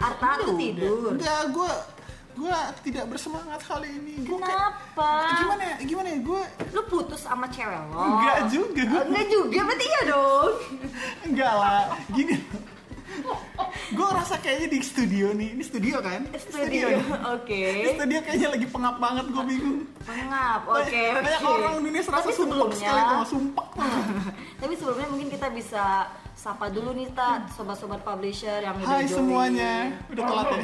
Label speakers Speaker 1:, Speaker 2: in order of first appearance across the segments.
Speaker 1: Kenapa? Lu tidur.
Speaker 2: Enggak, gue gue tidak bersemangat kali ini. Gua kayak-
Speaker 1: Kenapa?
Speaker 2: gimana ya? Gimana ya? Gue
Speaker 1: Lu putus sama cewek lo?
Speaker 2: enggak juga.
Speaker 1: Oh, enggak juga, berarti iya dong.
Speaker 2: Enggak lah. Gini. gue rasa kayaknya di studio nih. Ini studio kan?
Speaker 1: Studio,
Speaker 2: nih.
Speaker 1: oke.
Speaker 2: Ini studio kayaknya lagi pengap banget gue bingung.
Speaker 1: Pengap, oke.
Speaker 2: Banyak-
Speaker 1: oke.
Speaker 2: Banyak orang dunia serasa
Speaker 1: Tapi
Speaker 2: sumpah
Speaker 1: sebelumnya-
Speaker 2: sekali sama sumpah.
Speaker 1: Tapi sebelumnya mungkin kita bisa sapa dulu nih Ta, sobat-sobat publisher yang udah
Speaker 2: Hai
Speaker 1: join.
Speaker 2: semuanya, udah telat ya?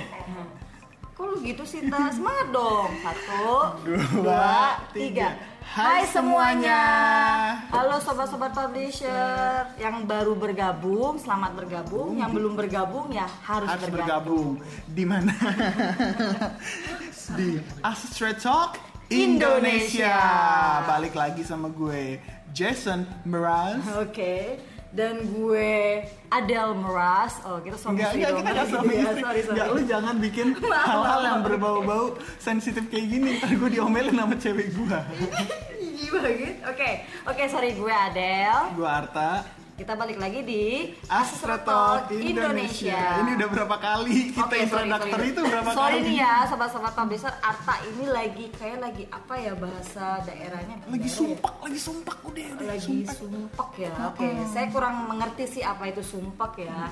Speaker 1: Kok lu gitu sih Ta? Semangat dong. Satu,
Speaker 2: Dua, tiga.
Speaker 1: Hai
Speaker 2: Hai
Speaker 1: semuanya.
Speaker 2: semuanya.
Speaker 1: Halo sobat-sobat publisher yang baru bergabung, selamat bergabung. Yang belum bergabung ya harus,
Speaker 2: Harus
Speaker 1: bergabung.
Speaker 2: bergabung di mana? di Astro Talk
Speaker 1: Indonesia.
Speaker 2: Indonesia. Balik lagi sama gue Jason Mraz.
Speaker 1: Oke. Dan gue Adele Meras. Oh, kita suami
Speaker 2: Enggak,
Speaker 1: istri
Speaker 2: enggak
Speaker 1: dong.
Speaker 2: kita nggak suami
Speaker 1: Iya,
Speaker 2: istri.
Speaker 1: Sorry, sorry.
Speaker 2: Enggak, lu jangan bikin
Speaker 1: Maaf,
Speaker 2: hal-hal yang
Speaker 1: maaf.
Speaker 2: berbau-bau sensitif kayak gini. Ntar gue diomelin sama cewek gue.
Speaker 1: Gigi banget. gitu. Oke. Oke, sorry gue Adele.
Speaker 2: Gue Arta.
Speaker 1: Kita balik lagi di
Speaker 2: Astro Talk Indonesia. Ini udah berapa kali kita
Speaker 1: Oke, sorry,
Speaker 2: introduktor
Speaker 1: sorry.
Speaker 2: itu berapa
Speaker 1: Sorry
Speaker 2: kali?
Speaker 1: nih ya, sobat-sobat publisher, Arta ini lagi kayak lagi apa ya bahasa daerahnya?
Speaker 2: Lagi
Speaker 1: Daerah
Speaker 2: sumpak, lagi sumpak udah
Speaker 1: ya?
Speaker 2: udah
Speaker 1: lagi sumpek ya. Oke, saya kurang mengerti sih apa itu sumpek ya.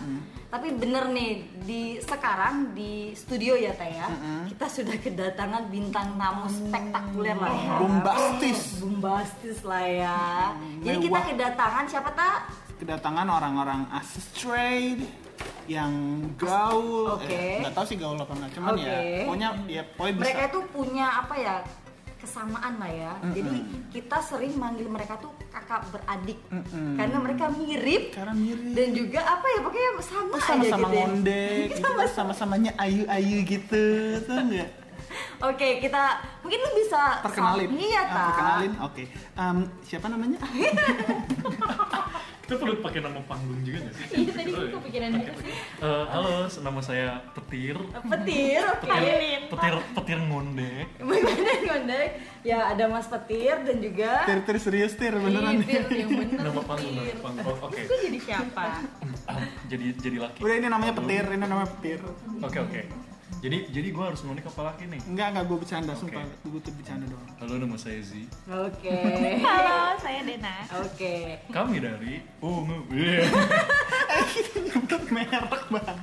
Speaker 1: Tapi bener nih di sekarang di studio ya Teh ya, kita sudah kedatangan bintang tamu spektakuler lah ya.
Speaker 2: Bombastis.
Speaker 1: Bombastis lah ya. Jadi kita
Speaker 2: Mewah.
Speaker 1: kedatangan siapa tak?
Speaker 2: kedatangan orang-orang asus trade yang gaul
Speaker 1: Oke.
Speaker 2: eh, nggak tahu sih gaul apa nggak cuman ya
Speaker 1: Oke.
Speaker 2: pokoknya ya pokoknya bisa
Speaker 1: mereka itu punya apa ya kesamaan lah ya jadi kita sering manggil mereka tuh kakak beradik
Speaker 2: Mm-mm.
Speaker 1: karena mereka mirip
Speaker 2: Karena mirip.
Speaker 1: dan juga apa ya pokoknya sama
Speaker 2: Terus
Speaker 1: aja
Speaker 2: sama-sama
Speaker 1: gitu ya.
Speaker 2: ngondek gitu
Speaker 1: Sama-
Speaker 2: terus sama-samanya ayu-ayu gitu tuh enggak
Speaker 1: oke kita mungkin lu bisa
Speaker 2: perkenalin
Speaker 1: iya
Speaker 2: Ah,
Speaker 1: ta
Speaker 2: perkenalin oke Em, siapa namanya
Speaker 3: Kita perlu pakai nama panggung juga nggak sih?
Speaker 4: Iya, tadi gue kepikiran
Speaker 3: Pakai, pakai. Eh, halo, nama saya Petir.
Speaker 1: petir oke
Speaker 3: Petir, petir, petir ngondek.
Speaker 1: bagaimana ngondek ya ada mas petir dan juga
Speaker 2: tir tir serius tir
Speaker 1: Iya,
Speaker 2: beneran
Speaker 4: Petir, yang bener
Speaker 3: Nama panggung,
Speaker 4: petir.
Speaker 3: nama panggung. Oh, Oke,
Speaker 1: gue jadi siapa
Speaker 3: Ah, jadi jadi laki.
Speaker 2: udah ini namanya petir ini namanya petir
Speaker 3: Oke oke. Jadi jadi gue harus ngondek apa laki nih?
Speaker 2: enggak enggak gue bercanda sumpah gue tuh bercanda doang
Speaker 3: Halo, nama saya Z.
Speaker 1: oke
Speaker 4: Halo, saya Dena.
Speaker 1: oke
Speaker 3: Kami dari Ungu. Iya.
Speaker 2: nyebut merek bang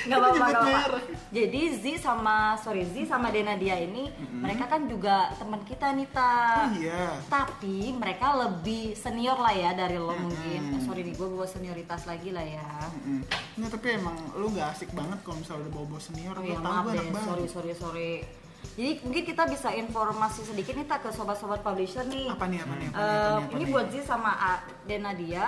Speaker 1: nggak apa-apa
Speaker 2: Nyebut
Speaker 1: nggak apa-apa.
Speaker 2: merek.
Speaker 1: jadi Z sama sorry Z sama Dena dia ini mereka kan juga teman kita nih ta
Speaker 2: Oh, iya.
Speaker 1: tapi mereka lebih senior lah ya dari lo mungkin Eh, sorry nih gue bawa senioritas lagi lah ya
Speaker 2: Mm. Nggak, tapi emang lu nggak asik banget kalau misalnya udah bawa-bawa senior
Speaker 1: oh
Speaker 2: Kalau
Speaker 1: ya
Speaker 2: tahu
Speaker 1: maaf
Speaker 2: gue
Speaker 1: deh
Speaker 2: anak baru.
Speaker 1: sorry sorry sorry jadi mungkin kita bisa informasi sedikit nih tak ke sobat-sobat publisher nih
Speaker 2: apa nih apa nih apa nih, apa
Speaker 1: Eh,
Speaker 2: nih, apa
Speaker 1: ini
Speaker 2: nih?
Speaker 1: buat Z sama A- Dena dia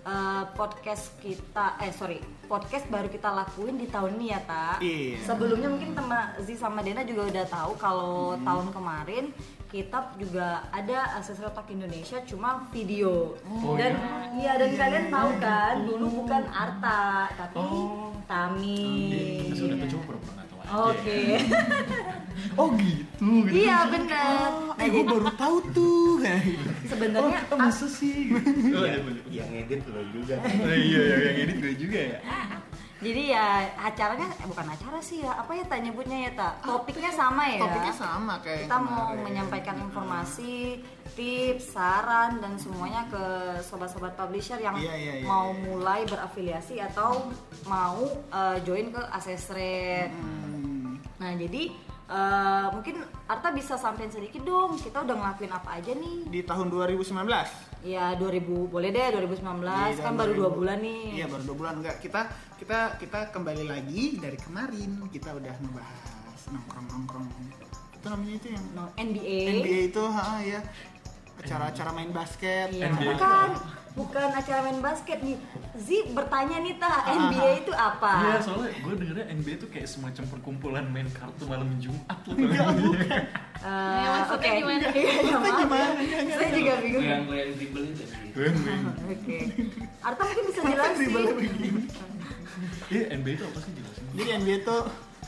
Speaker 1: eh, podcast kita eh sorry podcast baru kita lakuin di tahun ini ya ta
Speaker 2: Iya.
Speaker 1: sebelumnya mungkin teman Z sama Dena juga udah tahu kalau tahun kemarin kita juga ada akses otak Indonesia cuma video
Speaker 3: Oh,
Speaker 1: dan iya dan kalian tahu kan dulu bukan Arta tapi
Speaker 3: Oh.
Speaker 1: Tami
Speaker 3: Kita sudah mencoba pura-pura nggak tahu aja.
Speaker 1: oke
Speaker 2: oh gitu gitu
Speaker 1: iya benar
Speaker 2: Oh,
Speaker 1: nah,
Speaker 2: eh gue
Speaker 1: jadi
Speaker 2: baru tahu tuh kayak gitu.
Speaker 1: sebenarnya
Speaker 2: oh, masa sih
Speaker 3: Oh, iya, boleh.
Speaker 5: yang ngedit lo juga
Speaker 3: Eh, Iya, yang yang edit gue juga ya.
Speaker 1: Jadi ya acaranya eh, bukan acara sih ya apa ya tak nyebutnya ya tak topiknya sama ya.
Speaker 2: topiknya sama kayak
Speaker 1: Kita mau
Speaker 2: kemarin.
Speaker 1: menyampaikan informasi, tips, saran dan semuanya ke sobat-sobat publisher yang
Speaker 2: Iya, iya, iya,
Speaker 1: mau
Speaker 2: iya.
Speaker 1: mulai berafiliasi atau mau eh, join ke Asesret.
Speaker 2: Hmm,
Speaker 1: Nah jadi eh, mungkin Arta bisa sampein sedikit dong kita udah ngelakuin apa aja nih?
Speaker 2: di tahun 2019
Speaker 1: Ya 2000 boleh deh 2019
Speaker 2: Di
Speaker 1: kan
Speaker 2: tahun
Speaker 1: baru
Speaker 2: 2000.
Speaker 1: dua bulan nih.
Speaker 2: iya baru dua bulan enggak kita kita kita kembali lagi dari kemarin kita udah ngebahas nongkrong nongkrong itu namanya itu yang
Speaker 1: No, NBA.
Speaker 2: NBA itu ha ya acara-acara main basket
Speaker 1: Iya.
Speaker 3: NBA.
Speaker 1: Bukan, bukan acara main basket nih. Zi bertanya nih ta, NBA itu
Speaker 4: Ah.
Speaker 1: apa?
Speaker 3: Iya, soalnya gue dengernya NBA tuh kayak semacam perkumpulan main kartu malam Jumat loh.
Speaker 2: Enggak, bukan.
Speaker 1: Eh,
Speaker 4: Ya, maksudnya
Speaker 1: oke.
Speaker 4: gimana?
Speaker 1: Iya, iya,
Speaker 2: Maksudnya
Speaker 1: maaf
Speaker 2: gimana?
Speaker 1: ya.
Speaker 2: Nggak
Speaker 1: Saya juga bingung. Oke.
Speaker 5: goyang dribble itu
Speaker 1: Arta mungkin bisa
Speaker 2: Masa
Speaker 1: jelasin
Speaker 2: dribble begini?
Speaker 3: Iya, NBA itu apa sih jelasin?
Speaker 2: jadi NBA itu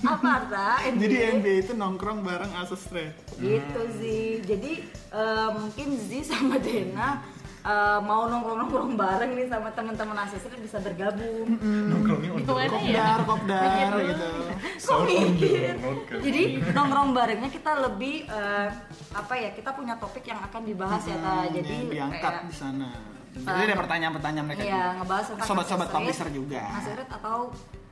Speaker 1: apa Arta? NBA?
Speaker 2: jadi NBA itu nongkrong bareng Asus Trade
Speaker 1: Gitu Zi. Jadi eh, mungkin Zi sama Dena eh, mau nongkrong-nongkrong bareng nih sama teman-teman asisten bisa bergabung.
Speaker 3: Nongkrongnya on the
Speaker 4: Gimana
Speaker 3: road.
Speaker 4: ya?
Speaker 1: iya.
Speaker 2: kopdar kopdar
Speaker 4: Banyak
Speaker 2: gitu
Speaker 3: Sound on the
Speaker 1: mikir?
Speaker 3: road kan.
Speaker 1: Jadi nongkrong barengnya kita lebih eh, apa ya? Kita punya topik yang akan dibahas ya, Ta.
Speaker 2: Hmm,
Speaker 1: Jadi
Speaker 2: yang diangkat
Speaker 1: kayak-
Speaker 2: di sana jadi ada pertanyaan-pertanyaan mereka
Speaker 1: Iya,
Speaker 2: juga.
Speaker 1: ngebahas tentang
Speaker 2: sobat-sobat
Speaker 1: aksesoris,
Speaker 2: publisher juga
Speaker 1: aksesoris atau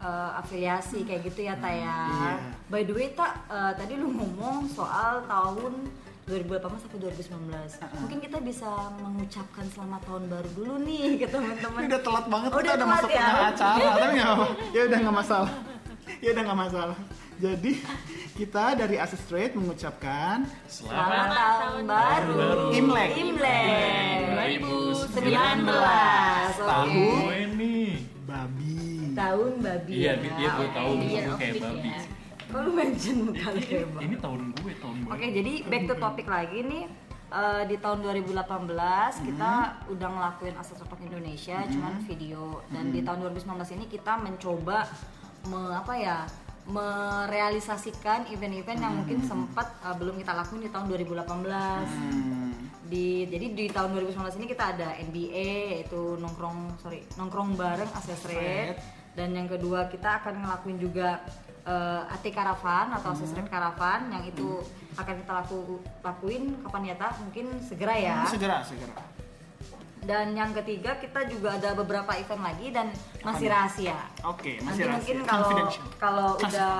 Speaker 1: eh, afiliasi kayak gitu ya Taya.
Speaker 2: iya.
Speaker 1: By the way tak tadi lu ngomong soal tahun 2018 sampai 2019. Mungkin kita bisa mengucapkan selamat tahun baru dulu nih ke teman-teman.
Speaker 2: Ini udah telat banget,
Speaker 1: Oh,
Speaker 2: kita
Speaker 1: udah
Speaker 2: udah
Speaker 1: telat
Speaker 2: masuk
Speaker 1: ya?
Speaker 2: tengah acara, tapi nggak apa-apa. Ya udah nggak masalah. Ya udah nggak masalah. Jadi kita dari Asus Trade mengucapkan
Speaker 1: Selamat
Speaker 3: Selamat
Speaker 1: tahun baru.
Speaker 3: baru.
Speaker 2: Imlek.
Speaker 1: Imlek.
Speaker 4: 2019.
Speaker 1: 2019. Oke.
Speaker 2: Tahun.
Speaker 3: Gue nih.
Speaker 2: babi.
Speaker 1: Tahun babi.
Speaker 3: Iya, dia, dia gue
Speaker 1: Oke.
Speaker 3: tahu muka
Speaker 4: Iya,
Speaker 3: gue kayak
Speaker 4: Opik ya.
Speaker 3: babi.
Speaker 1: Kok lu mention muka lu ya,
Speaker 3: Ini,
Speaker 1: kayak babi?
Speaker 3: ini tahun gue, tahun gue.
Speaker 1: Oke, jadi back to topic lagi nih. Eh, di tahun 2018 kita udah ngelakuin aset sosok Indonesia, cuman video. Dan di tahun 2019 ini kita mencoba me- apa ya? merealisasikan event-event yang mungkin sempat eh, belum kita lakuin di tahun 2018.
Speaker 2: Hmm.
Speaker 1: Di jadi di tahun 2019 ini kita ada NBA yaitu nongkrong sorry nongkrong bareng Asesret dan yang kedua kita akan ngelakuin juga eh, AT Caravan atau Asesret Caravan yang itu akan kita laku- lakuin kapan ya Ta? Mungkin segera ya.
Speaker 2: Segera, segera.
Speaker 1: Dan yang ketiga kita juga ada beberapa event lagi dan masih rahasia.
Speaker 2: Oke,
Speaker 1: Nanti
Speaker 2: masih rahasia.
Speaker 1: mungkin kalau
Speaker 2: Confidential.
Speaker 1: kalau udah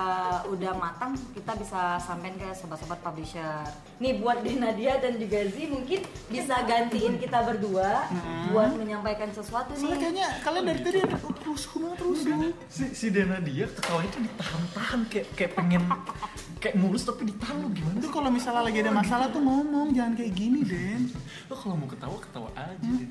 Speaker 1: udah matang kita bisa sampein ke sobat-sobat publisher. Nih buat De Nadia dan juga Zi mungkin bisa gantiin kita berdua
Speaker 2: Nah.
Speaker 1: buat menyampaikan sesuatu
Speaker 2: Soalnya
Speaker 1: nih.
Speaker 2: kayaknya kalian
Speaker 1: Oh,
Speaker 2: dari
Speaker 1: gitu.
Speaker 2: tadi ada rusuh banget rusuh.
Speaker 3: si, si Dena dia ketawanya tuh ditahan-tahan kayak kayak pengen kayak mulus tapi ditahan lu gimana
Speaker 2: Itu kalau misalnya lagi ada masalah tuh ngomong, jangan kayak gini, Den.
Speaker 3: lo kalau mau ketawa ketawa aja Dena.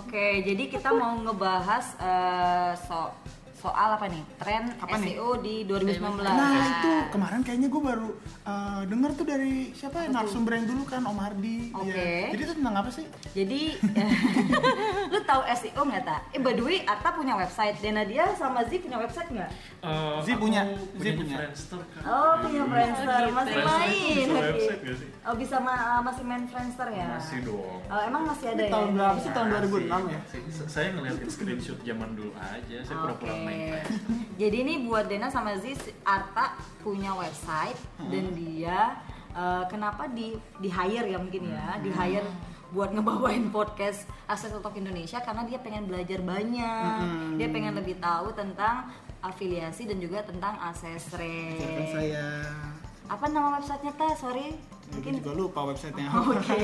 Speaker 1: Oke, jadi kita mau ngebahas eh, so- soal apa nih? Tren
Speaker 2: Apa nih?
Speaker 1: SEO di 2019.
Speaker 2: Nah itu kemarin kayaknya gue baru eh, denger tuh dari siapa ya narasumber yang dulu kan Om Hardi.
Speaker 1: Oke.
Speaker 2: Iya. Jadi itu tentang apa sih?
Speaker 1: Jadi lu tahu SEO nggak tak? Eh by the way, Arta punya website. De Nadia sama Zi punya website nggak?
Speaker 3: Eh,
Speaker 2: Zee
Speaker 3: aku
Speaker 2: punya, Zee
Speaker 3: punyanya
Speaker 2: punya.
Speaker 3: Friendster kan
Speaker 1: Oh punya Friendster,
Speaker 4: gitu.
Speaker 1: masih
Speaker 3: Friendster itu
Speaker 1: main.
Speaker 3: bisa
Speaker 1: oke.
Speaker 3: website nggak sih?
Speaker 1: Oh bisa ma- masih main Friendster ya?
Speaker 3: masih dong
Speaker 1: Oh, emang masih ada ya?
Speaker 2: Tahun berapa sih? Tahun 2006 ya?
Speaker 3: Si- si- saya ngeliatin screenshot zaman dulu aja saya pura-pura
Speaker 1: Oke.
Speaker 3: main Friendster.
Speaker 1: Jadi ini buat Dena sama Ziz, Arta punya website
Speaker 3: Hmm.
Speaker 1: dan dia eh, kenapa di di hire ya mungkin ya, di
Speaker 3: Hmm.
Speaker 1: hire buat ngebawain podcast Aset Talk Indonesia karena dia pengen belajar banyak,
Speaker 3: Hmm.
Speaker 1: dia pengen lebih tahu tentang afiliasi dan juga tentang asesre.
Speaker 2: Siapkan saya.
Speaker 1: Apa nama websitenya ta? Sorry,
Speaker 2: Ya, Gue
Speaker 1: mungkin. Oh, iya.
Speaker 2: juga lupa websitenya.
Speaker 1: Oke.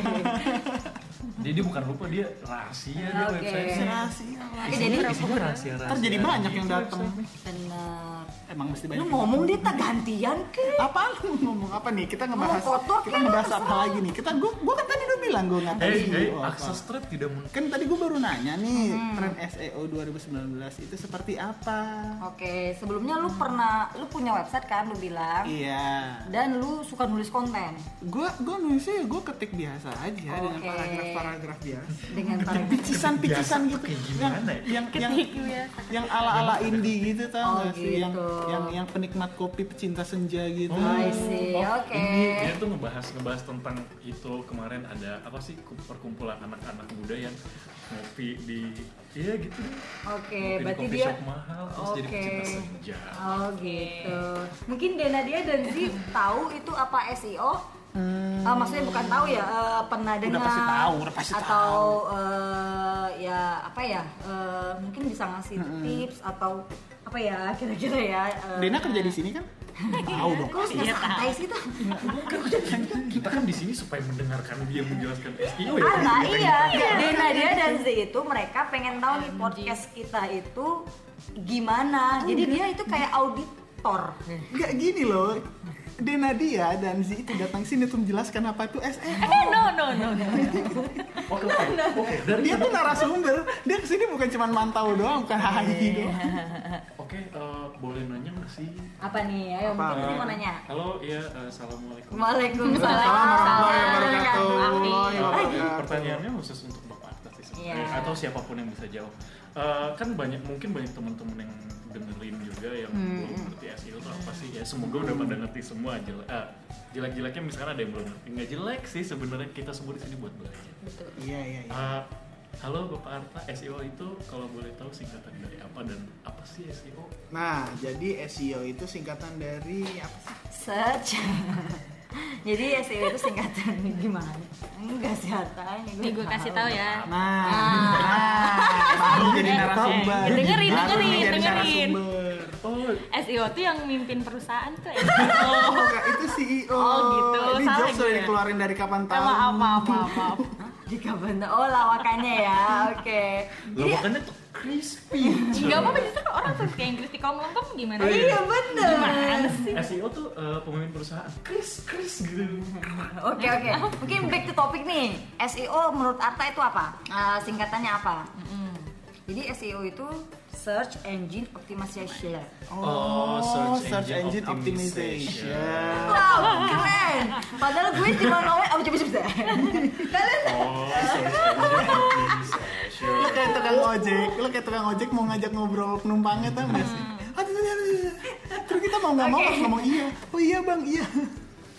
Speaker 3: jadi dia bukan lupa dia rahasia dia
Speaker 1: Oke.
Speaker 3: website
Speaker 2: Rahasia.
Speaker 1: Oke, jadi
Speaker 3: isinya Iya, rahasia rahasia
Speaker 2: Ntar jadi banyak yang datang.
Speaker 1: bener.
Speaker 2: Emang mesti
Speaker 1: Lu
Speaker 2: banyak.
Speaker 1: ngomong dia tak gantian ke?
Speaker 2: Apaan lu ngomong apa nih? Kita ngebahas
Speaker 1: Ngomong kotor
Speaker 2: kita
Speaker 1: kayak
Speaker 2: ngebahas
Speaker 1: apa
Speaker 2: apa lagi nih? Kita gua gua kan tadi udah bilang gua ngatain
Speaker 3: hey hey
Speaker 2: CEO apa.
Speaker 3: akses trade tidak mungkin
Speaker 2: Kan tadi gua baru nanya nih,
Speaker 3: Mm-hmm.
Speaker 2: tren E SEO 2019 itu seperti apa?
Speaker 3: Oh.
Speaker 1: Oke, sebelumnya lu pernah lu punya website kan lu bilang
Speaker 2: Iya.
Speaker 1: dan lu suka nulis konten
Speaker 2: Gue gue nulisnya gue ketik biasa aja
Speaker 3: Oh,
Speaker 2: dengan
Speaker 1: Oke.
Speaker 2: paragraf-paragraf biasa.
Speaker 1: dengan tarif
Speaker 2: Picisan-picisan
Speaker 3: Biasa
Speaker 2: gitu.
Speaker 3: tuh kayak gimana ya?
Speaker 2: yang, yang, yang, yang ala-ala indie gitu
Speaker 1: Oh,
Speaker 2: tau gak sih? Yang,
Speaker 1: gitu.
Speaker 2: yang, yang penikmat kopi pecinta senja gitu.
Speaker 1: Oh,
Speaker 3: Oh,
Speaker 1: I
Speaker 3: iya.
Speaker 1: see, oke.
Speaker 3: ini dia tuh ngebahas ngebahas tentang itu kemarin ada apa sih ku- perkumpulan anak-anak muda yang ngopi di ya gitu deh.
Speaker 1: Oke,
Speaker 3: Ngopi di
Speaker 1: berarti
Speaker 3: coffee
Speaker 1: dia
Speaker 3: shop mahal terus jadi
Speaker 1: Oke.
Speaker 3: pecinta senja.
Speaker 1: Oh gitu. Mungkin Dena dia dan Zi tahu itu apa SEO? Eh, maksudnya bukan tahu ya, eh, pernah dengar
Speaker 2: pasti tahu, udah pasti
Speaker 1: atau eh, ya apa ya? eh, mungkin bisa ngasih tips atau apa ya kira-kira ya? eh.
Speaker 2: Dena kerja di sini kan? Tahu dong.
Speaker 1: Kok lu
Speaker 4: Iya,
Speaker 1: nggak santai sih tuh?
Speaker 3: Kita kan di sini supaya mendengarkan dia menjelaskan SEO ya.
Speaker 1: Ala
Speaker 3: Kita-
Speaker 1: iya, Dena dia dan Z itu mereka pengen tahu nih podcast kita itu gimana. Jadi dia itu kayak auditor.
Speaker 2: Enggak gini loh. Dena dia dan Zi itu datang sini untuk menjelaskan apa itu E SEO.
Speaker 4: Eh no no no no.
Speaker 3: Oke oke oke dari
Speaker 2: Dia tuh narasumber. Dia kesini bukan cuma mantau doang, bukan hahi doang.
Speaker 3: oke eh, boleh nanya nggak sih?
Speaker 1: Apa nih? Ayo mungkin Zi mau nanya.
Speaker 3: Halo ya eh, assalamualaikum.
Speaker 1: Waalaikumsalam.
Speaker 4: Oh, iya,
Speaker 2: warahmatullahi wabarakatuh.
Speaker 3: pertanyaannya khusus untuk bapak Arta sih sebenarnya.
Speaker 1: Iya.
Speaker 3: atau siapapun yang bisa jawab Eh, kan banyak mungkin banyak teman-teman yang dengerin juga yang belum ngerti SEO itu apa sih ya semoga udah pada ngerti semua eh, jelek jelek-jeleknya misalkan ada yang belum ngerti nggak jelek sih sebenarnya kita semua di sini buat belajar
Speaker 2: Iya, iya, iya.
Speaker 3: Eh, Halo Bapak Arta, SEO itu kalau boleh tahu singkatan dari apa dan apa sih E SEO?
Speaker 2: Nah, jadi SEO itu singkatan dari apa sih?
Speaker 1: Search. Jadi SEO itu singkatan gimana? Enggak sih Arta ini
Speaker 4: Nih gue kasih tahu ya.
Speaker 2: Nah,
Speaker 1: Ah.
Speaker 2: nah, baru jadi
Speaker 4: Eh,
Speaker 2: narasumber.
Speaker 4: eh, dengerin,
Speaker 2: Baru
Speaker 4: dengerin,
Speaker 2: jadi
Speaker 4: dengerin.
Speaker 2: narasumber.
Speaker 3: Oh,
Speaker 4: SEO E tuh yang mimpin perusahaan tuh ya. SEO.
Speaker 2: Oh, enggak, itu CEO.
Speaker 4: Oh, gitu.
Speaker 2: Ini
Speaker 4: Salah
Speaker 2: jokes sudah
Speaker 4: gue.
Speaker 2: dikeluarin dari kapan
Speaker 4: Eh,
Speaker 2: tahu.
Speaker 4: maaf, maaf, maaf, maaf.
Speaker 1: Di Kabanda. Oh, lawakannya ya. Oke.
Speaker 3: lo makannya tuh crispy. cuy.
Speaker 4: Gak apa-apa justru kan orang suka kayak Inggris di kom lempem gimana?
Speaker 3: Oh,
Speaker 1: Iya bener.
Speaker 3: SEO tuh eh, pemimpin perusahaan. Kris, kris gitu.
Speaker 1: Oke oke. Mungkin back to topic nih. SEO menurut Arta itu apa? Eh, singkatannya apa? Jadi SEO itu Search Engine Optimization.
Speaker 3: Oh, search engine optimization.
Speaker 1: Wow, keren. Padahal gue cuma ngomong apa Oh, coba coba. Kalian
Speaker 3: Oh, search engine optimization.
Speaker 2: Lo kayak tukang ojek, lo kayak tukang ojek mau ngajak ngobrol penumpangnya tau gak sih? Aduh, aduh, aduh, aduh. Terus kita mau nggak mau
Speaker 1: Hmm. Oke.
Speaker 2: harus ngomong iya. Oh iya bang, iya.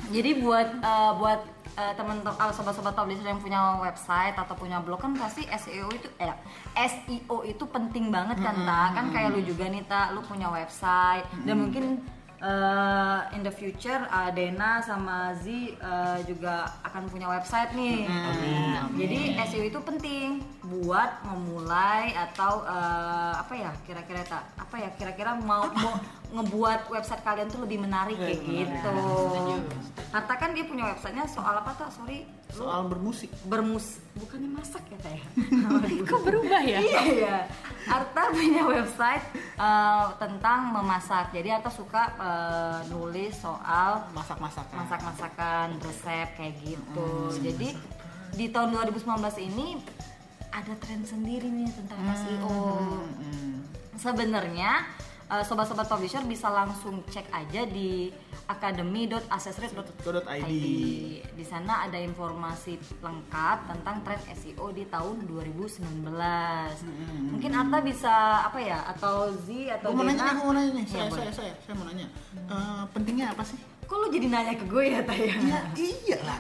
Speaker 1: Jadi buat eh, buat eh, temen teman sobat-sobat publisher yang punya website atau punya blog kan pasti SEO itu eh SEO itu penting banget kan ta kan kayak lu juga nih ta lu punya website dan mungkin eh, in the future eh, Dena sama Zi eh, juga akan punya website nih Nah, jadi SEO itu penting buat memulai atau eh, apa ya kira-kira tak apa ya kira-kira mau, mau ngebuat website kalian tuh lebih menarik kayak gitu Harta kan dia punya websitenya soal apa tuh? Sorry,
Speaker 2: Soal bermusik.
Speaker 1: bermus bukannya masak ya teh?
Speaker 4: Kok berubah ya?
Speaker 1: iya iya. Arta punya website eh, tentang memasak. Jadi Arta suka eh, nulis soal
Speaker 2: Masak-masakan.
Speaker 1: masak-masakan, resep kayak gitu.
Speaker 2: Hmm,
Speaker 1: Jadi di tahun 2019 ini ada tren sendiri nih tentang SEO.
Speaker 2: Hmm.
Speaker 1: Sebenarnya eh, sobat-sobat publisher bisa langsung cek aja di academy.accessrate.id.
Speaker 2: .id.
Speaker 1: Di sana ada informasi lengkap tentang tren SEO di tahun 2019.
Speaker 2: Hmm,
Speaker 1: Mungkin Arta bisa apa ya atau Z atau
Speaker 2: Gue mau nanya, nih,
Speaker 1: Dena.
Speaker 2: gue mau nanya nih. Saya,
Speaker 1: Iya,
Speaker 2: saya,
Speaker 1: boleh. Hmm.
Speaker 2: saya, saya mau nanya. Eh, pentingnya apa sih?
Speaker 1: Kok lu jadi nanya ke gue ya Taya?
Speaker 2: Iya, iya lah.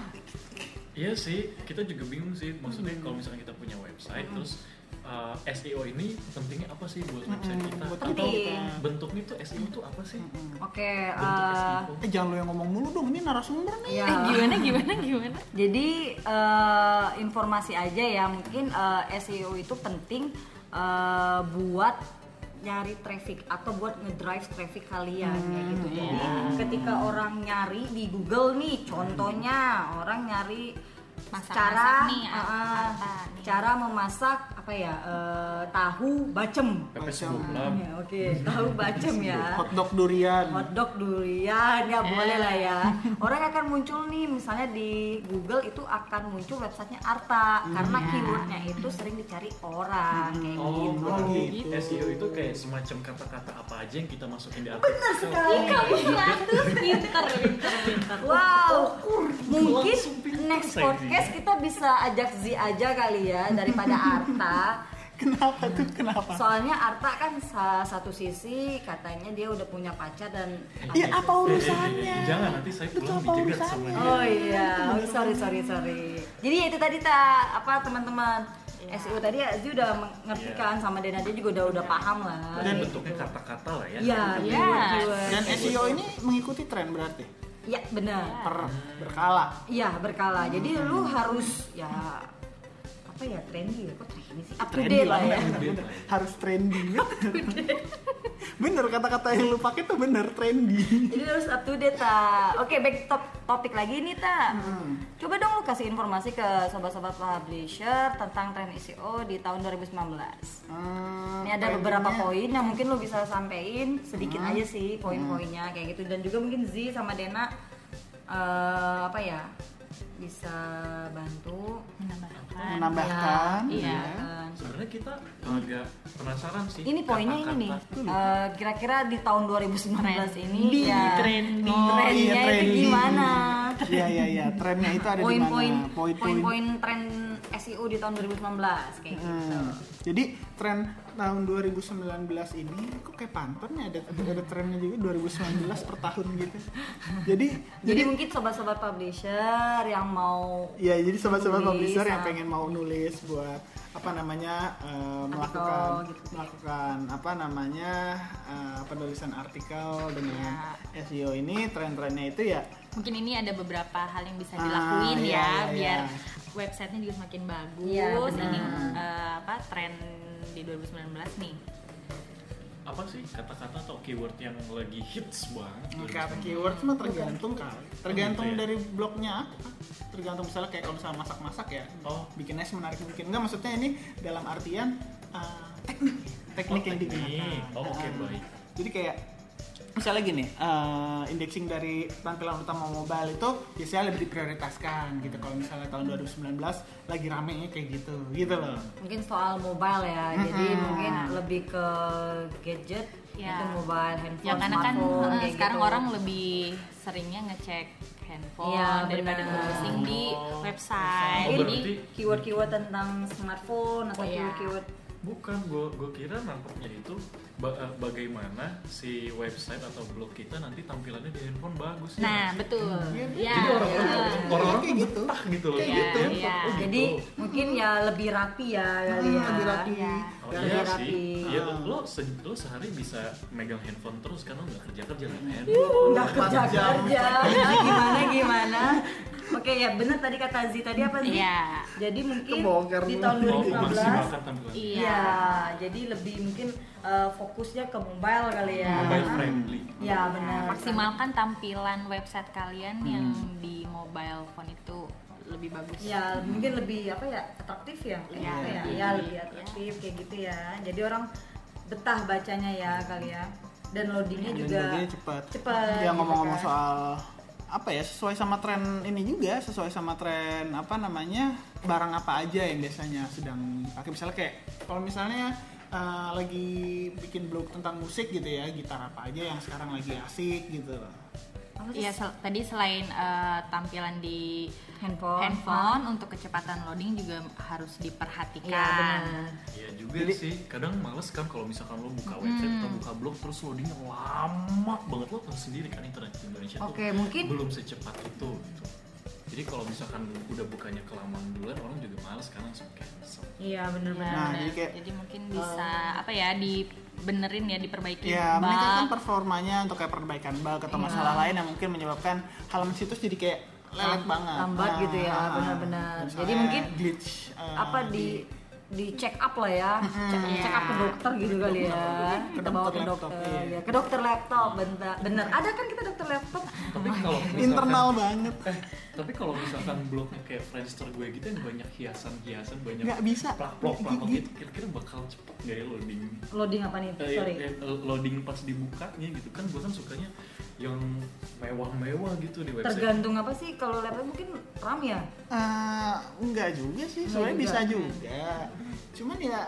Speaker 3: Iya sih, kita juga bingung sih. Maksudnya kalau misalnya kita punya website, terus uh, SEO ini pentingnya apa sih buat website kita?
Speaker 2: Buat
Speaker 3: Atau
Speaker 1: Penting.
Speaker 3: bentuknya tuh SEO tuh apa sih?
Speaker 1: Oke,
Speaker 3: Bentuk E
Speaker 1: eh,
Speaker 3: SEO.
Speaker 2: Eh jangan lo yang ngomong mulu dong, ini narasumber nih.
Speaker 1: ya.
Speaker 4: Eh, gimana gimana gimana?
Speaker 1: Jadi eh, informasi aja ya mungkin eh, SEO itu penting eh, buat nyari traffic atau buat ngedrive traffic kalian kayak
Speaker 4: Hmm,
Speaker 1: gitu. Jadi
Speaker 4: iya.
Speaker 1: ketika orang nyari di Google nih, contohnya orang nyari
Speaker 4: Masak-masak
Speaker 1: cara
Speaker 4: nih,
Speaker 1: eh,
Speaker 4: apa nih?
Speaker 1: cara memasak apa ya eh, tahu bacem.
Speaker 3: Pepes
Speaker 2: Macam-
Speaker 3: bola.
Speaker 1: Ya, Oke, tahu bacem ya
Speaker 2: Hotdog durian.
Speaker 1: hotdog durian
Speaker 3: Eh.
Speaker 1: ya boleh lah ya orang akan muncul nih misalnya di Google itu akan muncul websitenya Arta karena keywordnya itu sering dicari orang kayak
Speaker 3: Hmm, iya. Oh,
Speaker 1: gitu
Speaker 3: berarti
Speaker 2: gitu.
Speaker 3: SEO itu kayak semacam kata-kata apa aja yang kita masukin di Oh, eh, artikel.
Speaker 1: Bener
Speaker 3: Iya.
Speaker 1: sekali.
Speaker 4: Kamu tuh pinter pinter pinter.
Speaker 3: oh,
Speaker 1: Wow, mungkin
Speaker 3: Langsung pintar
Speaker 1: next
Speaker 3: saya
Speaker 1: podcast kita bisa ajak Zi aja kali ya daripada Arta.
Speaker 2: Kenapa tuh? Kenapa?
Speaker 1: Soalnya Arta kan sa- satu sisi katanya dia udah punya pacar dan
Speaker 2: Ya apa
Speaker 3: Eh, eh,
Speaker 2: urusannya?
Speaker 3: eh, Jangan nanti saya
Speaker 2: Itu
Speaker 3: pulang
Speaker 2: apa
Speaker 3: dijegat
Speaker 2: urusannya?
Speaker 3: sama dia.
Speaker 1: Oh iya, Oh, sorry sorry sorry. Jadi ya itu tadi ta apa teman-teman SEO tadi ya Zi udah mengerti
Speaker 3: Iya.
Speaker 1: kan sama Dena dia juga udah udah paham lah.
Speaker 3: Berarti bentuknya kata-kata lah ya.
Speaker 1: Oh. Iya,
Speaker 4: Iya.
Speaker 1: iya.
Speaker 2: Dan SEO ini mengikuti tren berarti
Speaker 1: Iya benar.
Speaker 2: per berkala.
Speaker 1: Iya berkala. Jadi lu harus ya apa ya trendy ya kok trendy sih up to
Speaker 2: Trendy
Speaker 1: date lah ya.
Speaker 2: bener, bener. Iya Harus trendy. bener. bener kata-kata yang lu pakai tuh bener trendy.
Speaker 1: Jadi lu harus up to date ta. Oke back top topik lagi nih ta. Coba dong lu kasih informasi ke sobat-sobat publisher tentang tren SEO di tahun 2019.
Speaker 2: Hmm,
Speaker 1: Ini ada beberapa poin yang mungkin lo bisa sampein sedikit aja sih poin-poinnya kayak gitu dan juga mungkin Z sama Dena eh, apa ya bisa bantu Ya,
Speaker 4: Menambahkan.
Speaker 2: menambahkan.
Speaker 4: Iya.
Speaker 1: Dan
Speaker 3: Sebenarnya kita agak penasaran sih.
Speaker 1: Eh, ini poinnya ini nih
Speaker 3: kata-kata.
Speaker 1: eh, kira-kira di tahun 2019
Speaker 4: Nah,
Speaker 1: ini
Speaker 4: Trendy,
Speaker 1: ya
Speaker 4: trendy.
Speaker 1: oh,
Speaker 2: Oh, iya,
Speaker 1: trennya itu
Speaker 2: trendy.
Speaker 1: gimana
Speaker 2: Iya iya iya, trennya itu ada di
Speaker 1: poin-poin E
Speaker 2: mana? Poin-poin.
Speaker 1: poin-poin tren SEO di tahun 2019 kayak gitu
Speaker 2: Hmm. Jadi tren tahun 2019 ini kok kayak pantun ya ada ada trennya juga 2019 per tahun gitu. Jadi
Speaker 1: Jadi mungkin sobat-sobat publisher yang mau
Speaker 2: Ya, jadi sobat-sobat
Speaker 1: Nulis,
Speaker 2: publisher yang
Speaker 1: ah.
Speaker 2: pengen mau nulis buat apa namanya eh, melakukan
Speaker 1: Artikel gitu.
Speaker 2: melakukan apa namanya eh, penulisan artikel dengan
Speaker 1: Iya.
Speaker 2: SEO ini tren-trennya itu ya
Speaker 4: Mungkin ini ada beberapa hal yang bisa
Speaker 2: Ah,
Speaker 4: dilakuin
Speaker 2: iya,
Speaker 4: ya,
Speaker 2: iya,
Speaker 4: biar
Speaker 2: iya.
Speaker 4: websitenya juga semakin bagus.
Speaker 1: Iya,
Speaker 4: ini
Speaker 2: benar.
Speaker 4: eh, apa tren di 2019 nih.
Speaker 3: apa sih kata-kata atau keyword yang lagi hits banget?
Speaker 2: kata keywords mah tergantung kali. Tergantung
Speaker 3: Gitu ya.
Speaker 2: dari blognya apa. Tergantung misalnya kayak kalau misalnya masak-masak ya.
Speaker 3: Oh.
Speaker 2: bikinnya semenarik mungkin. Enggak maksudnya ini dalam artian eh, teknik teknik
Speaker 3: Oh,
Speaker 2: yang
Speaker 3: teknik.
Speaker 2: digunakan.
Speaker 3: Oh, oke,
Speaker 2: Nah,
Speaker 3: baik.
Speaker 2: Jadi kayak misalnya gini, eh, indexing dari tampilan utama mobile itu biasanya lebih diprioritaskan gitu. Kalau misalnya tahun 2019 lagi ramenya kayak gitu, gitu loh.
Speaker 1: mungkin soal mobile ya jadi
Speaker 2: Mm-mm.
Speaker 1: mungkin lebih ke gadget
Speaker 4: Ya.
Speaker 1: itu mobile handphone
Speaker 4: Ya karena kan
Speaker 1: smartphone
Speaker 4: eh,
Speaker 1: kayak
Speaker 4: sekarang
Speaker 1: gitu.
Speaker 4: orang lebih seringnya ngecek handphone
Speaker 1: Iya,
Speaker 4: daripada
Speaker 1: benar.
Speaker 4: browsing di
Speaker 3: Oh,
Speaker 4: website.
Speaker 1: mungkin
Speaker 3: Oh,
Speaker 4: Jadi
Speaker 3: berarti
Speaker 1: keyword-keyword tentang smartphone atau
Speaker 4: Oh, iya.
Speaker 1: keyword-keyword
Speaker 3: Bukan, gue gue kira nangkepnya itu ba- eh, bagaimana si website atau blog kita nanti tampilannya di handphone bagus
Speaker 4: nah,
Speaker 3: ya.
Speaker 4: betul.
Speaker 2: Iya,
Speaker 4: Ya.
Speaker 3: Jadi orang-orang
Speaker 4: betul.
Speaker 2: iya.
Speaker 3: orang-orang
Speaker 2: Kayak
Speaker 3: tuh
Speaker 2: gitu.
Speaker 3: betah gitu loh.
Speaker 2: Kayak
Speaker 3: lihat
Speaker 4: gitu.
Speaker 3: handphone.
Speaker 4: Iya.
Speaker 3: Oh, gitu.
Speaker 1: jadi mungkin ya lebih rapi ya kali ya
Speaker 2: lebih rapi.
Speaker 4: Iya.
Speaker 3: Oh,
Speaker 1: Biar
Speaker 3: iya
Speaker 1: lebih
Speaker 3: sih.
Speaker 1: rapi.
Speaker 3: Iya, lo, se- lo sehari bisa megang handphone terus karena nggak kerja kerja kan
Speaker 1: nggak kerja
Speaker 2: Empat jam.
Speaker 1: kerja gimana gimana oke ya bener tadi kata Z tadi apa sih
Speaker 4: Iya.
Speaker 1: jadi mungkin
Speaker 2: Kebongkar
Speaker 1: di
Speaker 2: lu.
Speaker 1: tahun
Speaker 3: Oh,
Speaker 1: 2015
Speaker 3: memaksimalkan tampilan.
Speaker 4: Iya.
Speaker 1: Iya, jadi lebih mungkin eh, fokusnya ke mobile kali ya.
Speaker 3: Mobile friendly.
Speaker 1: Iya benar. Hmm.
Speaker 4: Maksimalkan tampilan website kalian yang di mobile phone itu lebih bagus.
Speaker 1: Ya mungkin lebih apa ya atraktif ya, kayak gitu
Speaker 4: Iya,
Speaker 1: ya.
Speaker 3: lebih-
Speaker 1: Ya lebih atraktif kayak gitu ya. Jadi orang betah bacanya ya kali ya. Dan loadingnya
Speaker 2: Dan
Speaker 1: juga
Speaker 2: sebagainya cepat.
Speaker 1: cepat.
Speaker 2: Ya ngomong-ngomong
Speaker 1: gitu kan.
Speaker 2: soal apa ya sesuai sama tren ini juga sesuai sama tren apa namanya barang apa aja yang biasanya sedang pakai misalnya kayak kalau misalnya eh, lagi bikin blog tentang musik gitu ya gitar apa aja yang sekarang lagi asik gitu
Speaker 1: Apa sih?
Speaker 4: Iya, sel- tadi selain eh, tampilan di
Speaker 1: handphone.
Speaker 4: handphone untuk kecepatan loading juga harus diperhatikan.
Speaker 1: Iya benar.
Speaker 3: Iya juga sih, kadang males kan kalau misalkan lo buka website
Speaker 4: Hmm.
Speaker 3: atau buka blog terus loadingnya lama banget lo tahu sendiri kan internet di Indonesia
Speaker 1: Oke,
Speaker 3: tuh
Speaker 1: mungkin
Speaker 3: belum secepat itu gitu. Jadi kalau misalkan udah bukanya kelamaan duluan orang juga males kan langsung cancel.
Speaker 2: Oh
Speaker 1: Iya benar benar.
Speaker 4: Iya,
Speaker 2: Nah,
Speaker 4: benar.
Speaker 2: jadi kayak,
Speaker 4: jadi mungkin bisa apa ya dibenerin ya diperbaiki
Speaker 1: Iya.
Speaker 2: ya
Speaker 4: bug.
Speaker 2: meningkatkan performanya untuk kayak perbaikan bug atau masalah lain yang mungkin menyebabkan halaman situs jadi kayak lelet
Speaker 1: Lam- Iya.
Speaker 2: banget Nah,
Speaker 1: lambat gitu ya, benar-benar. Jadi
Speaker 2: misalnya
Speaker 1: mungkin
Speaker 2: glitch eh,
Speaker 1: Apa di di check up lah ya, check,
Speaker 4: Iya.
Speaker 1: check up ke dokter gitu kali ya.
Speaker 2: Ke
Speaker 1: Kita bawa ke
Speaker 2: dokter laptop,
Speaker 1: dokter,
Speaker 2: iya.
Speaker 1: ya. ke dokter laptop, bentar. Bener, ada kan kita dokter laptop?
Speaker 3: Tapi kalau misalkan-
Speaker 2: internal banget
Speaker 3: Eh, tapi kalau misalkan blognya kayak Friendster gue gitu yang banyak hiasan-hiasan banyak
Speaker 2: nggak bisa
Speaker 3: plak-plak-plak gitu, kira-kira bakal cepet nggak ya loading?
Speaker 1: Loading apa nih?
Speaker 3: Eh,
Speaker 1: Sorry.
Speaker 3: eh, loading pas dibukanya gitu kan gue kan sukanya yang mewah-mewah gitu di website.
Speaker 1: Tergantung apa sih kalau laptop mungkin RAM ya?
Speaker 2: Eh, enggak juga sih,
Speaker 1: Enggak
Speaker 2: sebenarnya
Speaker 1: juga.
Speaker 2: bisa juga. Cuman ya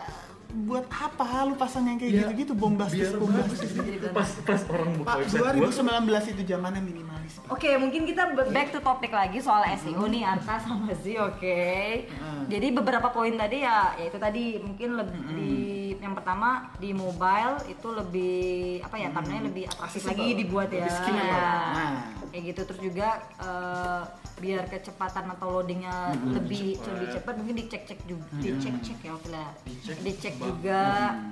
Speaker 2: buat apa lu pasang yang kayak
Speaker 3: Ya,
Speaker 2: gitu-gitu bombastis
Speaker 3: biar bagus
Speaker 2: bombastis.
Speaker 3: gitu. pas pas orang buka
Speaker 2: Pak,
Speaker 3: website gua
Speaker 2: 2019 itu zamannya minimalis. Pak.
Speaker 1: Oke, mungkin kita b- back to topic lagi soal SEO nih Arta sama Z, oke.
Speaker 2: Hmm.
Speaker 1: Jadi beberapa poin tadi ya, yaitu tadi mungkin lebih yang pertama di mobile itu lebih apa ya, tampilannya lebih atraktif
Speaker 2: Accessible.
Speaker 1: lagi dibuat ya.
Speaker 2: Lebih skill.
Speaker 1: Ya.
Speaker 2: Nah.
Speaker 1: Kayak gitu terus juga eh, biar kecepatan atau loadingnya lebih
Speaker 3: Cepat.
Speaker 1: lebih cepat mungkin dicek-cek juga, dicek-cek ya, oke lah.
Speaker 3: Dicek.
Speaker 1: Dicek
Speaker 3: Bang.
Speaker 1: juga.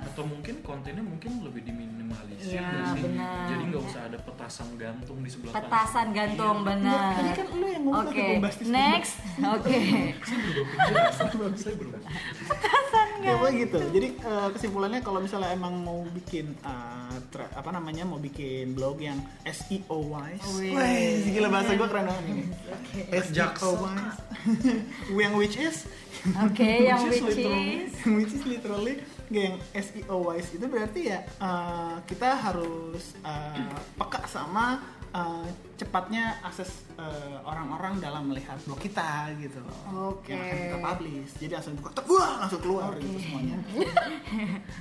Speaker 3: atau mungkin kontennya mungkin lebih diminimalisir
Speaker 1: Iya,
Speaker 3: nggak sih?
Speaker 1: benar.
Speaker 3: jadi nggak usah ada petasan gantung di sebelah kanan.
Speaker 1: Petasan gantung
Speaker 2: Enggak,
Speaker 1: benar.
Speaker 2: Tadi kan lu yang ngomong
Speaker 1: Oke,
Speaker 2: pakai bombastis.
Speaker 1: next. Oke.
Speaker 3: Iya, saya belum
Speaker 2: Ya pokoknya gitu. Jadi eh, kesimpulannya kalau misalnya emang mau bikin eh, tra- apa namanya mau bikin blog yang SEO wise.
Speaker 1: Wih.
Speaker 2: Wih, gila bahasa gua keren banget ini. SEO wise. yang which is
Speaker 1: Oke, yang which
Speaker 2: literally-
Speaker 1: is
Speaker 2: yang which is literally nggak, yang SEO wise itu berarti ya eh, kita harus eh, peka sama eh, cepatnya akses eh, orang-orang dalam melihat blog kita gitu loh.
Speaker 1: Oke.
Speaker 2: Yang akan kita publish. Jadi langsung buka, tek, wah, langsung keluar gitu semuanya.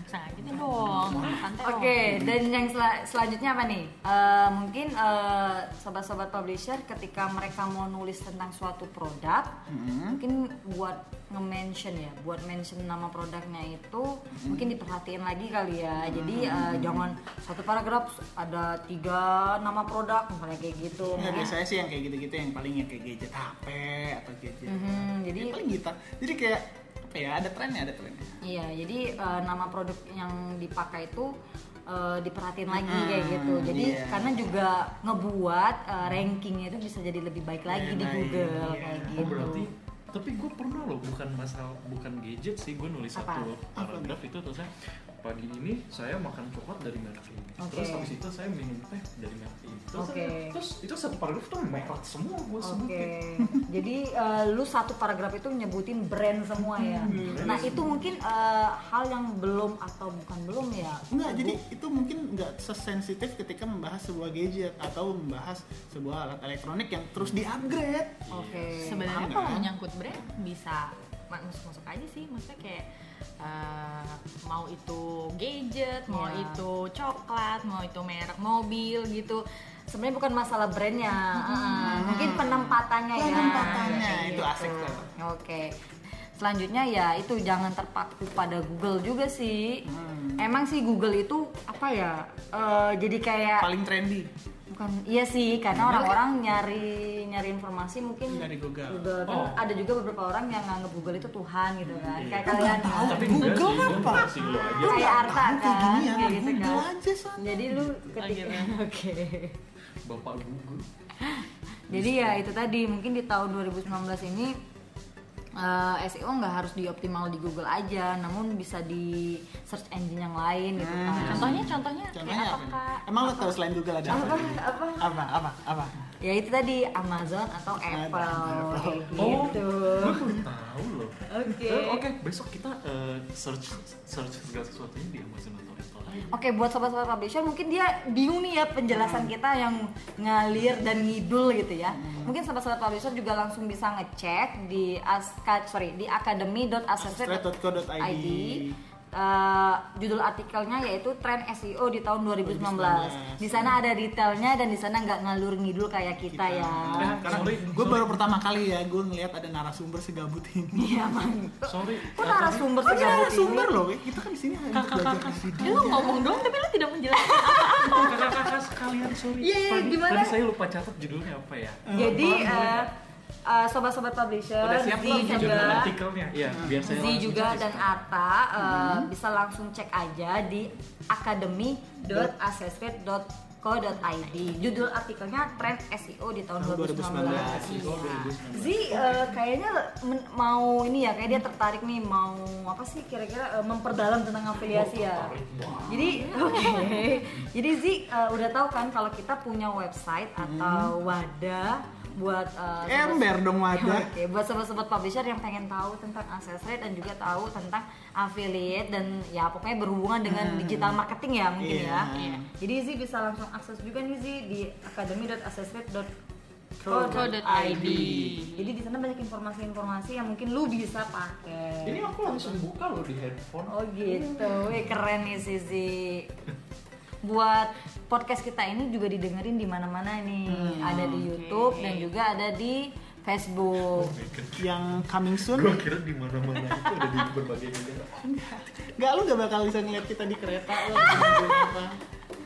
Speaker 4: Sangat gitu dong. Santai
Speaker 1: Oke, dan yang sel- selanjutnya apa nih? Eh, mungkin eh, sobat-sobat publisher ketika mereka mau nulis tentang suatu produk, Mm-hmm. mungkin buat nge-mention ya, buat mention nama produknya itu mungkin diperhatiin lagi kali ya. Jadi eh, jangan satu paragraf ada tiga nama produk misalnya kayak gitu.
Speaker 2: Ya,
Speaker 1: Mungkin-
Speaker 2: biasanya sih yang kayak gitu-gitu yang paling yang kayak gadget HP atau gadget.
Speaker 1: Mhm, jadi
Speaker 2: Yang paling gitar. Jadi kayak apa ya? Ada trennya, ada trennya.
Speaker 1: Iya, jadi eh, nama produk yang dipakai itu eh, diperhatiin lagi kayak gitu. Jadi
Speaker 2: iya.
Speaker 1: karena juga ngebuat eh, rankingnya itu bisa jadi lebih baik lagi
Speaker 2: Iya,
Speaker 1: di
Speaker 2: baik,
Speaker 1: Google
Speaker 2: iya.
Speaker 1: kayak gitu.
Speaker 3: Oh berarti tapi gue pernah loh bukan masalah bukan gadget sih gue nulis
Speaker 1: Apa?
Speaker 3: satu paragraf itu terus saya pagi ini saya makan coklat dari merek ini
Speaker 1: Oke.
Speaker 3: terus habis itu saya minum teh dari merek ini terus,
Speaker 1: Oke.
Speaker 3: saya- terus itu satu paragraf tuh merek semua gue
Speaker 1: Oke,
Speaker 3: sebutin
Speaker 1: jadi eh, lu satu paragraf itu nyebutin brand semua ya.
Speaker 3: Hmm.
Speaker 1: Nah itu mungkin eh, hal yang belum atau bukan belum ya?
Speaker 2: Enggak, jadi itu mungkin nggak sesensitif ketika membahas sebuah gadget atau membahas sebuah alat elektronik yang terus di-upgrade.
Speaker 1: Oke.
Speaker 4: Sebenarnya
Speaker 2: Paham
Speaker 4: kalau
Speaker 2: nggak?
Speaker 4: menyangkut brand bisa masuk-masuk aja sih. Maksudnya kayak eh, mau itu gadget, mau
Speaker 2: Iya.
Speaker 1: Ya.
Speaker 4: itu coklat, mau itu merek mobil gitu.
Speaker 1: Sebenarnya bukan masalah brandnya, eh, mungkin penempatannya, ya.
Speaker 2: Hmm. Penempatannya,
Speaker 1: Kayak gitu.
Speaker 2: itu asik tuh.
Speaker 1: Oke. Selanjutnya ya itu jangan terpaku pada Google juga sih.
Speaker 2: Hmm.
Speaker 1: Emang sih Google itu apa ya? eh, jadi kayak
Speaker 2: Paling trendy
Speaker 1: bukan iya sih karena orang-orang nyari nyari informasi mungkin
Speaker 2: dari kan Google.
Speaker 1: Google kan
Speaker 3: Oh.
Speaker 1: ada juga beberapa orang yang nganggap Google itu Tuhan gitu kan.
Speaker 3: Iya.
Speaker 1: Kayak kalian
Speaker 2: tahu.
Speaker 3: tapi enggak
Speaker 2: Google
Speaker 3: sih gue
Speaker 2: apa?
Speaker 3: nggak sih lo aja
Speaker 1: kayak Arta
Speaker 2: Tahu kayak
Speaker 1: kan,
Speaker 2: gini ya,
Speaker 1: kayak gitu
Speaker 2: Google
Speaker 1: kan.
Speaker 2: aja son.
Speaker 1: Jadi lu ketika oke.
Speaker 3: bapak Google
Speaker 1: Jadi ya itu tadi mungkin di tahun 2019 ini eh, SEO nggak harus dioptimal di Google aja, namun bisa di search engine yang lain gitu kan.
Speaker 4: Contohnya, contohnya,
Speaker 2: Contohnya
Speaker 4: kayak
Speaker 2: apa?
Speaker 4: apa
Speaker 2: nih?
Speaker 4: kak?
Speaker 2: Emang lo tahu selain Google ada apa?
Speaker 1: Iya, Apa apa?
Speaker 2: Apa? Apa? Apa?
Speaker 1: Ya itu tadi Amazon atau Apple kayak
Speaker 3: oh
Speaker 1: gitu.
Speaker 3: gue belum tahu loh
Speaker 1: Oke.
Speaker 3: Eh, oke besok kita eh, search search segala sesuatunya di Amazon atau Apple Eh, aja.
Speaker 1: Oke, buat sobat-sobat publisher mungkin dia bingung nih ya penjelasan kita yang ngalir dan ngidul gitu ya. Mungkin sobat-sobat publisher juga langsung bisa ngecek di aska sorry di academy.asetrate.co.id.
Speaker 2: Asetrate.co.id.
Speaker 1: Eh, judul artikelnya yaitu tren SEO di tahun 2019. Di sana ada detailnya dan di sana nggak ngalur ngidul kayak kita, ya.
Speaker 3: Eh,
Speaker 2: Karena
Speaker 3: sorry,
Speaker 2: gue baru pertama kali ya gue ngelihat ada narasumber segabut ini.
Speaker 1: Iya, Bang.
Speaker 3: sorry
Speaker 1: Kok
Speaker 2: Ah,
Speaker 1: narasumber
Speaker 2: Kok dia
Speaker 1: segabut ini?
Speaker 2: narasumber loh? Weh? Kita kan di sini hanya untuk belajar video.
Speaker 4: Ya, lu ngomong doang tapi lu tidak menjelaskan.
Speaker 3: kakak-kakak sekalian sorry
Speaker 1: Iya, iya,
Speaker 3: Tadi-
Speaker 1: gimana?
Speaker 3: Tadi saya lupa catat judulnya apa ya
Speaker 1: Jadi eh, eh, sobat-sobat publisher
Speaker 3: udah siap
Speaker 1: di
Speaker 3: belum judul
Speaker 1: juga
Speaker 3: artikelnya ya biar saya
Speaker 1: Zi
Speaker 3: langsung Hmm.
Speaker 1: juga
Speaker 3: cari
Speaker 1: dan
Speaker 3: sekarang.
Speaker 1: Ata eh, bisa langsung cek aja di academy.accessrate.co.id. Judul artikelnya tren SEO di tahun 2019.
Speaker 2: 2019.
Speaker 3: Oh,
Speaker 1: Iya.
Speaker 3: 2019.
Speaker 1: Zi eh, kayaknya men- mau ini ya, kayak dia tertarik nih mau apa sih kira-kira eh, memperdalam tentang afiliasi ya. Jadi oke. Jadi Zi eh, udah tahu kan kalau kita punya website
Speaker 3: Hmm.
Speaker 1: atau wadah buat eh,
Speaker 2: Ember dong wadah.
Speaker 1: Oke, buat sobat-sobat publisher yang pengen tahu tentang access rate dan juga tahu tentang affiliate dan ya pokoknya berhubungan dengan digital marketing ya mungkin
Speaker 2: Iya.
Speaker 1: ya.
Speaker 4: Iya.
Speaker 1: Jadi Zi bisa langsung akses juga nih Zi di academy.accessrate.co.id.
Speaker 4: Co.id.
Speaker 1: Jadi di sana banyak informasi-informasi yang mungkin lu bisa pakai.
Speaker 3: ini aku langsung buka loh di handphone
Speaker 1: Oh gitu, Wih, keren nih Sisi. Buat podcast kita ini juga didengerin di mana-mana nih. ada di YouTube dan juga ada di Facebook.
Speaker 2: Yang coming soon.
Speaker 3: gue kira di mana-mana itu ada di berbagai negara
Speaker 2: Gak lu gak bakal bisa ngeliat kita di kereta lo. nungguin apa.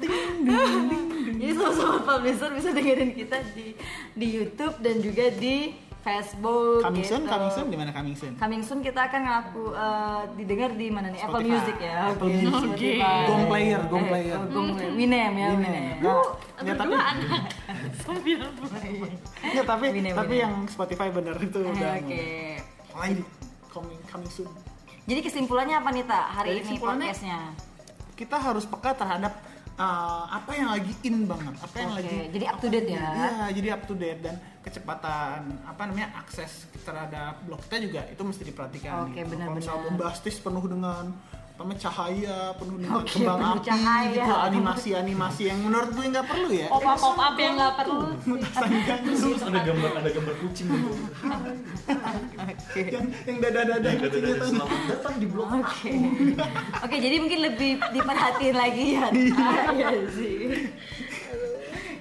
Speaker 1: Jadi sobat-sobat publisher bisa dengerin kita di di YouTube dan juga di Facebook.
Speaker 2: Coming
Speaker 1: gitu.
Speaker 2: soon, coming soon, di mana coming soon?
Speaker 1: Coming soon kita akan ngaku eh, didengar di mana nih? Apple
Speaker 2: Spotify.
Speaker 1: Music ya.
Speaker 2: Apple
Speaker 1: Oke,
Speaker 2: Music.
Speaker 1: Spotify.
Speaker 2: Gong player, gong
Speaker 1: Eh,
Speaker 2: player.
Speaker 1: oh, gong player. Winem ya,
Speaker 2: Ini
Speaker 1: Winem.
Speaker 2: enggak. Ya, tapi,
Speaker 4: Berdua anak. Sambil
Speaker 2: ya,
Speaker 4: ber-
Speaker 2: tapi,
Speaker 1: Wine,
Speaker 2: tapi
Speaker 1: wine.
Speaker 2: yang Spotify bener itu
Speaker 1: Eh,
Speaker 2: udah.
Speaker 1: Oke.
Speaker 2: Lain coming, coming soon.
Speaker 1: Jadi kesimpulannya apa nih tak hari
Speaker 2: Jadi
Speaker 1: ini
Speaker 2: kesimpulannya-
Speaker 1: podcastnya?
Speaker 2: Kita harus peka terhadap eh, apa yang lagi in banget, apa yang
Speaker 1: Oke,
Speaker 2: lagi
Speaker 1: jadi up to date ya.
Speaker 2: Iya, jadi up to date dan kecepatan apa namanya akses terhadap blog kita juga itu mesti diperhatikan.
Speaker 1: Oke,
Speaker 2: gitu.
Speaker 1: benar-benar.
Speaker 2: Kalau misalnya bombastis penuh dengan namanya cahaya penuh dengan
Speaker 1: Oke,
Speaker 2: kembang
Speaker 1: penuh
Speaker 2: api
Speaker 1: cahaya. Oh, iya.
Speaker 2: gitu animasi-animasi yang menurut gue nggak perlu ya
Speaker 4: pop up pop up yang nggak perlu
Speaker 2: Sayang,
Speaker 3: terus ada gambar ada gambar kucing gitu
Speaker 2: yang yang dada-dada
Speaker 3: ada
Speaker 2: gitu
Speaker 3: ada
Speaker 2: gitu
Speaker 3: selamat datang di blog
Speaker 1: Oke. Oke, jadi mungkin lebih diperhatiin lagi ya. Iya sih.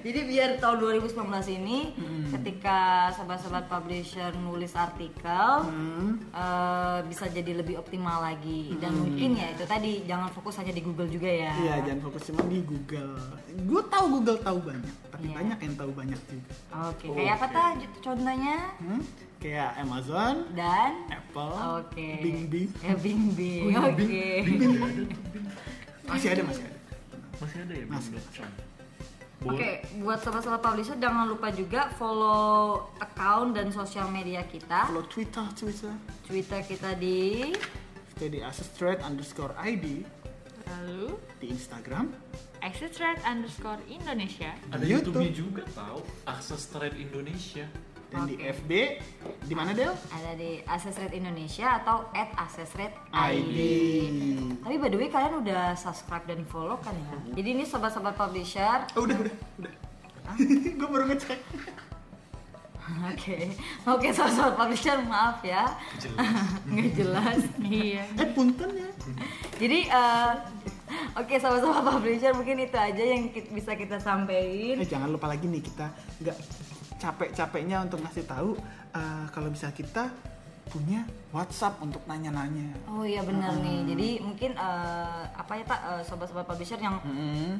Speaker 1: Jadi biar tahun 2019 ini ketika sahabat-sahabat publisher nulis artikel eh, bisa jadi lebih optimal lagi dan mungkin ya itu tadi jangan fokus hanya di Google juga ya.
Speaker 2: Iya, jangan fokus cuma di Google. Gue tahu Google tahu banyak, tapi
Speaker 1: Iya.
Speaker 2: banyak yang tahu banyak juga.
Speaker 1: Oke,
Speaker 2: gitu.
Speaker 1: kayak apa
Speaker 3: Oke.
Speaker 1: tuh contohnya?
Speaker 2: Hmm? Kayak Amazon,
Speaker 1: Dan
Speaker 2: Apple,
Speaker 1: Oke.
Speaker 2: Bing Bing.
Speaker 1: Ya Bing Bing.
Speaker 2: Oh, iya,
Speaker 1: Oke.
Speaker 2: Masih ada, masih ada.
Speaker 3: masih ada ya
Speaker 2: Masih.
Speaker 3: blog.com
Speaker 1: Oke, buat sahabat-sahabat publisher jangan lupa juga follow account dan sosial media kita.
Speaker 2: Kalau Twitter, Twitter,
Speaker 1: Twitter kita di
Speaker 2: kita di Asestrade underscore ID
Speaker 4: lalu
Speaker 2: di Instagram.
Speaker 4: exit thread underscore Indonesia
Speaker 3: ada
Speaker 2: YouTube.
Speaker 3: YouTube-nya juga tau akses thread Indonesia
Speaker 2: Dan di
Speaker 1: Oke.
Speaker 2: FB, di mana Del?
Speaker 1: ada di Access Rate Indonesia atau at Access Rate ID.
Speaker 2: ID.
Speaker 1: Tapi by the way kalian udah subscribe dan follow kan ya? Jadi ini sahabat-sahabat publisher,
Speaker 2: Oh, udah, udah, udah. gue baru ngecek.
Speaker 1: oke, oke sahabat-sahabat publisher maaf ya, nggak jelas.
Speaker 4: iya
Speaker 2: Eh, punten ya.
Speaker 1: Jadi eh, oke sahabat-sahabat publisher mungkin itu aja yang ki- bisa kita sampaikan.
Speaker 2: Eh, jangan lupa lagi nih kita nggak capek-capeknya untuk ngasih tahu eh, kalau bisa kita punya WhatsApp untuk nanya-nanya.
Speaker 1: Oh iya benar nih. Jadi mungkin eh, apa ya tak eh, sobat-sobat publisher yang
Speaker 2: Hmm.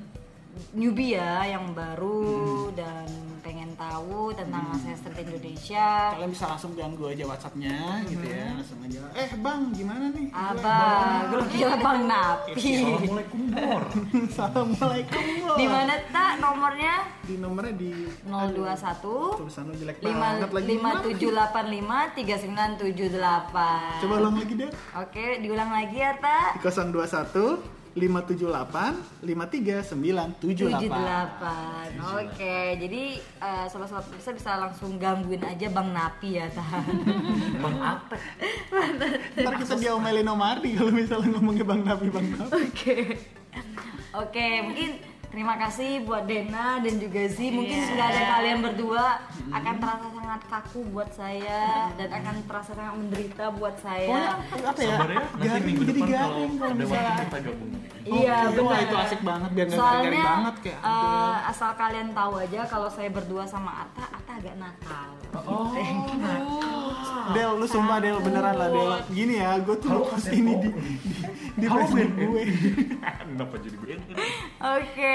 Speaker 1: newbie ya, yang baru dan pengen tahu tentang
Speaker 2: Hmm.
Speaker 1: aset-aset Indonesia.
Speaker 2: kalian bisa langsung ganggu aja WhatsApp-nya gitu ya langsung aja eh bang gimana nih Gue,
Speaker 1: Mm-hmm. Abang, gue kira Bang
Speaker 2: Iya.
Speaker 1: Napi.
Speaker 3: Assalamualaikum Mor
Speaker 2: "Bang, assalamualaikum lo
Speaker 1: Di mana tak nomornya?
Speaker 2: di nomornya di
Speaker 1: 021
Speaker 2: tulisan lo jelek banget lagi Gimana?
Speaker 1: 5785
Speaker 2: coba ulang lagi deh
Speaker 1: Oke, diulang lagi ya, Tak.
Speaker 2: di 021 578 53978
Speaker 1: 78. Oke, jadi eh, sobat-sobat bisa bisa langsung gangguin aja Bang Napi ya, Ta.
Speaker 3: Bang Ape
Speaker 2: ntar kita diomelin Omardi kalau misalnya ngomongnya Bang Napi Bang Napi
Speaker 1: Oke. Oke, mungkin terima kasih buat Dena dan juga Zi. Mungkin sudah ada kalian berdua akan terasa sangat kaku buat saya dan akan terasa sangat menderita buat
Speaker 2: pokoknya
Speaker 1: saya.
Speaker 2: apa ya
Speaker 3: Sabar ya, nanti
Speaker 2: garing
Speaker 3: minggu
Speaker 2: jadi
Speaker 3: depan kalau
Speaker 2: garing kalau
Speaker 3: ada waktu
Speaker 2: misalnya
Speaker 3: kita gabung
Speaker 1: Iya,
Speaker 2: Oke, wah,
Speaker 1: benar.
Speaker 2: itu asik banget biar nggak garing
Speaker 1: Soalnya
Speaker 2: banget kayak
Speaker 1: eh, asal kalian tahu aja kalau saya berdua sama Ata, Ata agak nakal.
Speaker 3: Oh,
Speaker 2: Del, lu sumpah Del, beneran lah Del. Gini ya, gue tuh
Speaker 3: Halo,
Speaker 2: post
Speaker 3: Del.
Speaker 2: ini di di Facebook gue.
Speaker 3: Kenapa jadi gue?
Speaker 1: Oke,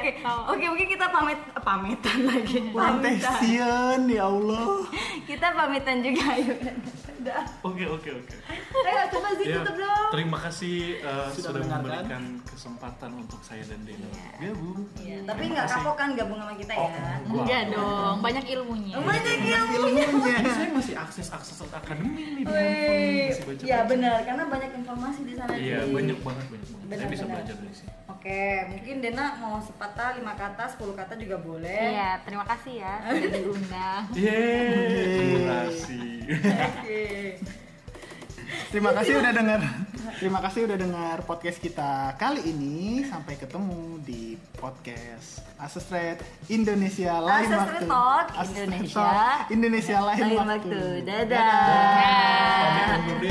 Speaker 1: oke. Oke, mungkin kita pamit pamitan lagi.
Speaker 2: Lantai
Speaker 1: Pamitan.
Speaker 2: Sion, ya Allah.
Speaker 1: Kita pamitan juga yuk. Udah.
Speaker 3: Oke, oke, oke.
Speaker 1: Ayo coba Zi
Speaker 3: Ya,
Speaker 1: tutup dong.
Speaker 3: terima kasih uh,
Speaker 2: Sudah
Speaker 3: sudah,
Speaker 2: mendengarkan.
Speaker 3: memberikan kesempatan untuk saya dan Dena gabung.
Speaker 1: Iya, tapi nggak kapok kan gabung sama kita ya.
Speaker 2: Oh.
Speaker 3: Wah.
Speaker 4: enggak dong banyak ilmunya
Speaker 1: Banyak ilmunya.
Speaker 2: Ilmunya.
Speaker 3: Ini saya masih akses akses akademi nih di handphone,
Speaker 1: Iya. Wih,
Speaker 3: masih baca.
Speaker 1: ya benar karena banyak informasi di sana.
Speaker 3: Iya,
Speaker 1: Ji.
Speaker 3: banyak banget banyak banget. saya bisa
Speaker 1: Benar-benar.
Speaker 3: belajar dari sini.
Speaker 1: Oke, mungkin Dena mau sepatah, lima kata, sepuluh kata juga boleh.
Speaker 4: iya terima kasih ya sudah diundang
Speaker 3: Yeay, terima kasih.
Speaker 1: Oke.
Speaker 2: Terima kasih udah dengar. Terima kasih udah dengar podcast kita kali ini. Sampai ketemu di podcast Asesret Indonesia
Speaker 1: Ases
Speaker 2: Lain Waktu.
Speaker 1: Talk
Speaker 2: Ases
Speaker 1: Indonesia.
Speaker 2: Talk Indonesia Lain,
Speaker 1: Lain
Speaker 2: Waktu.
Speaker 1: waktu.
Speaker 2: Dadah.
Speaker 1: Dadah.
Speaker 2: Pamit undur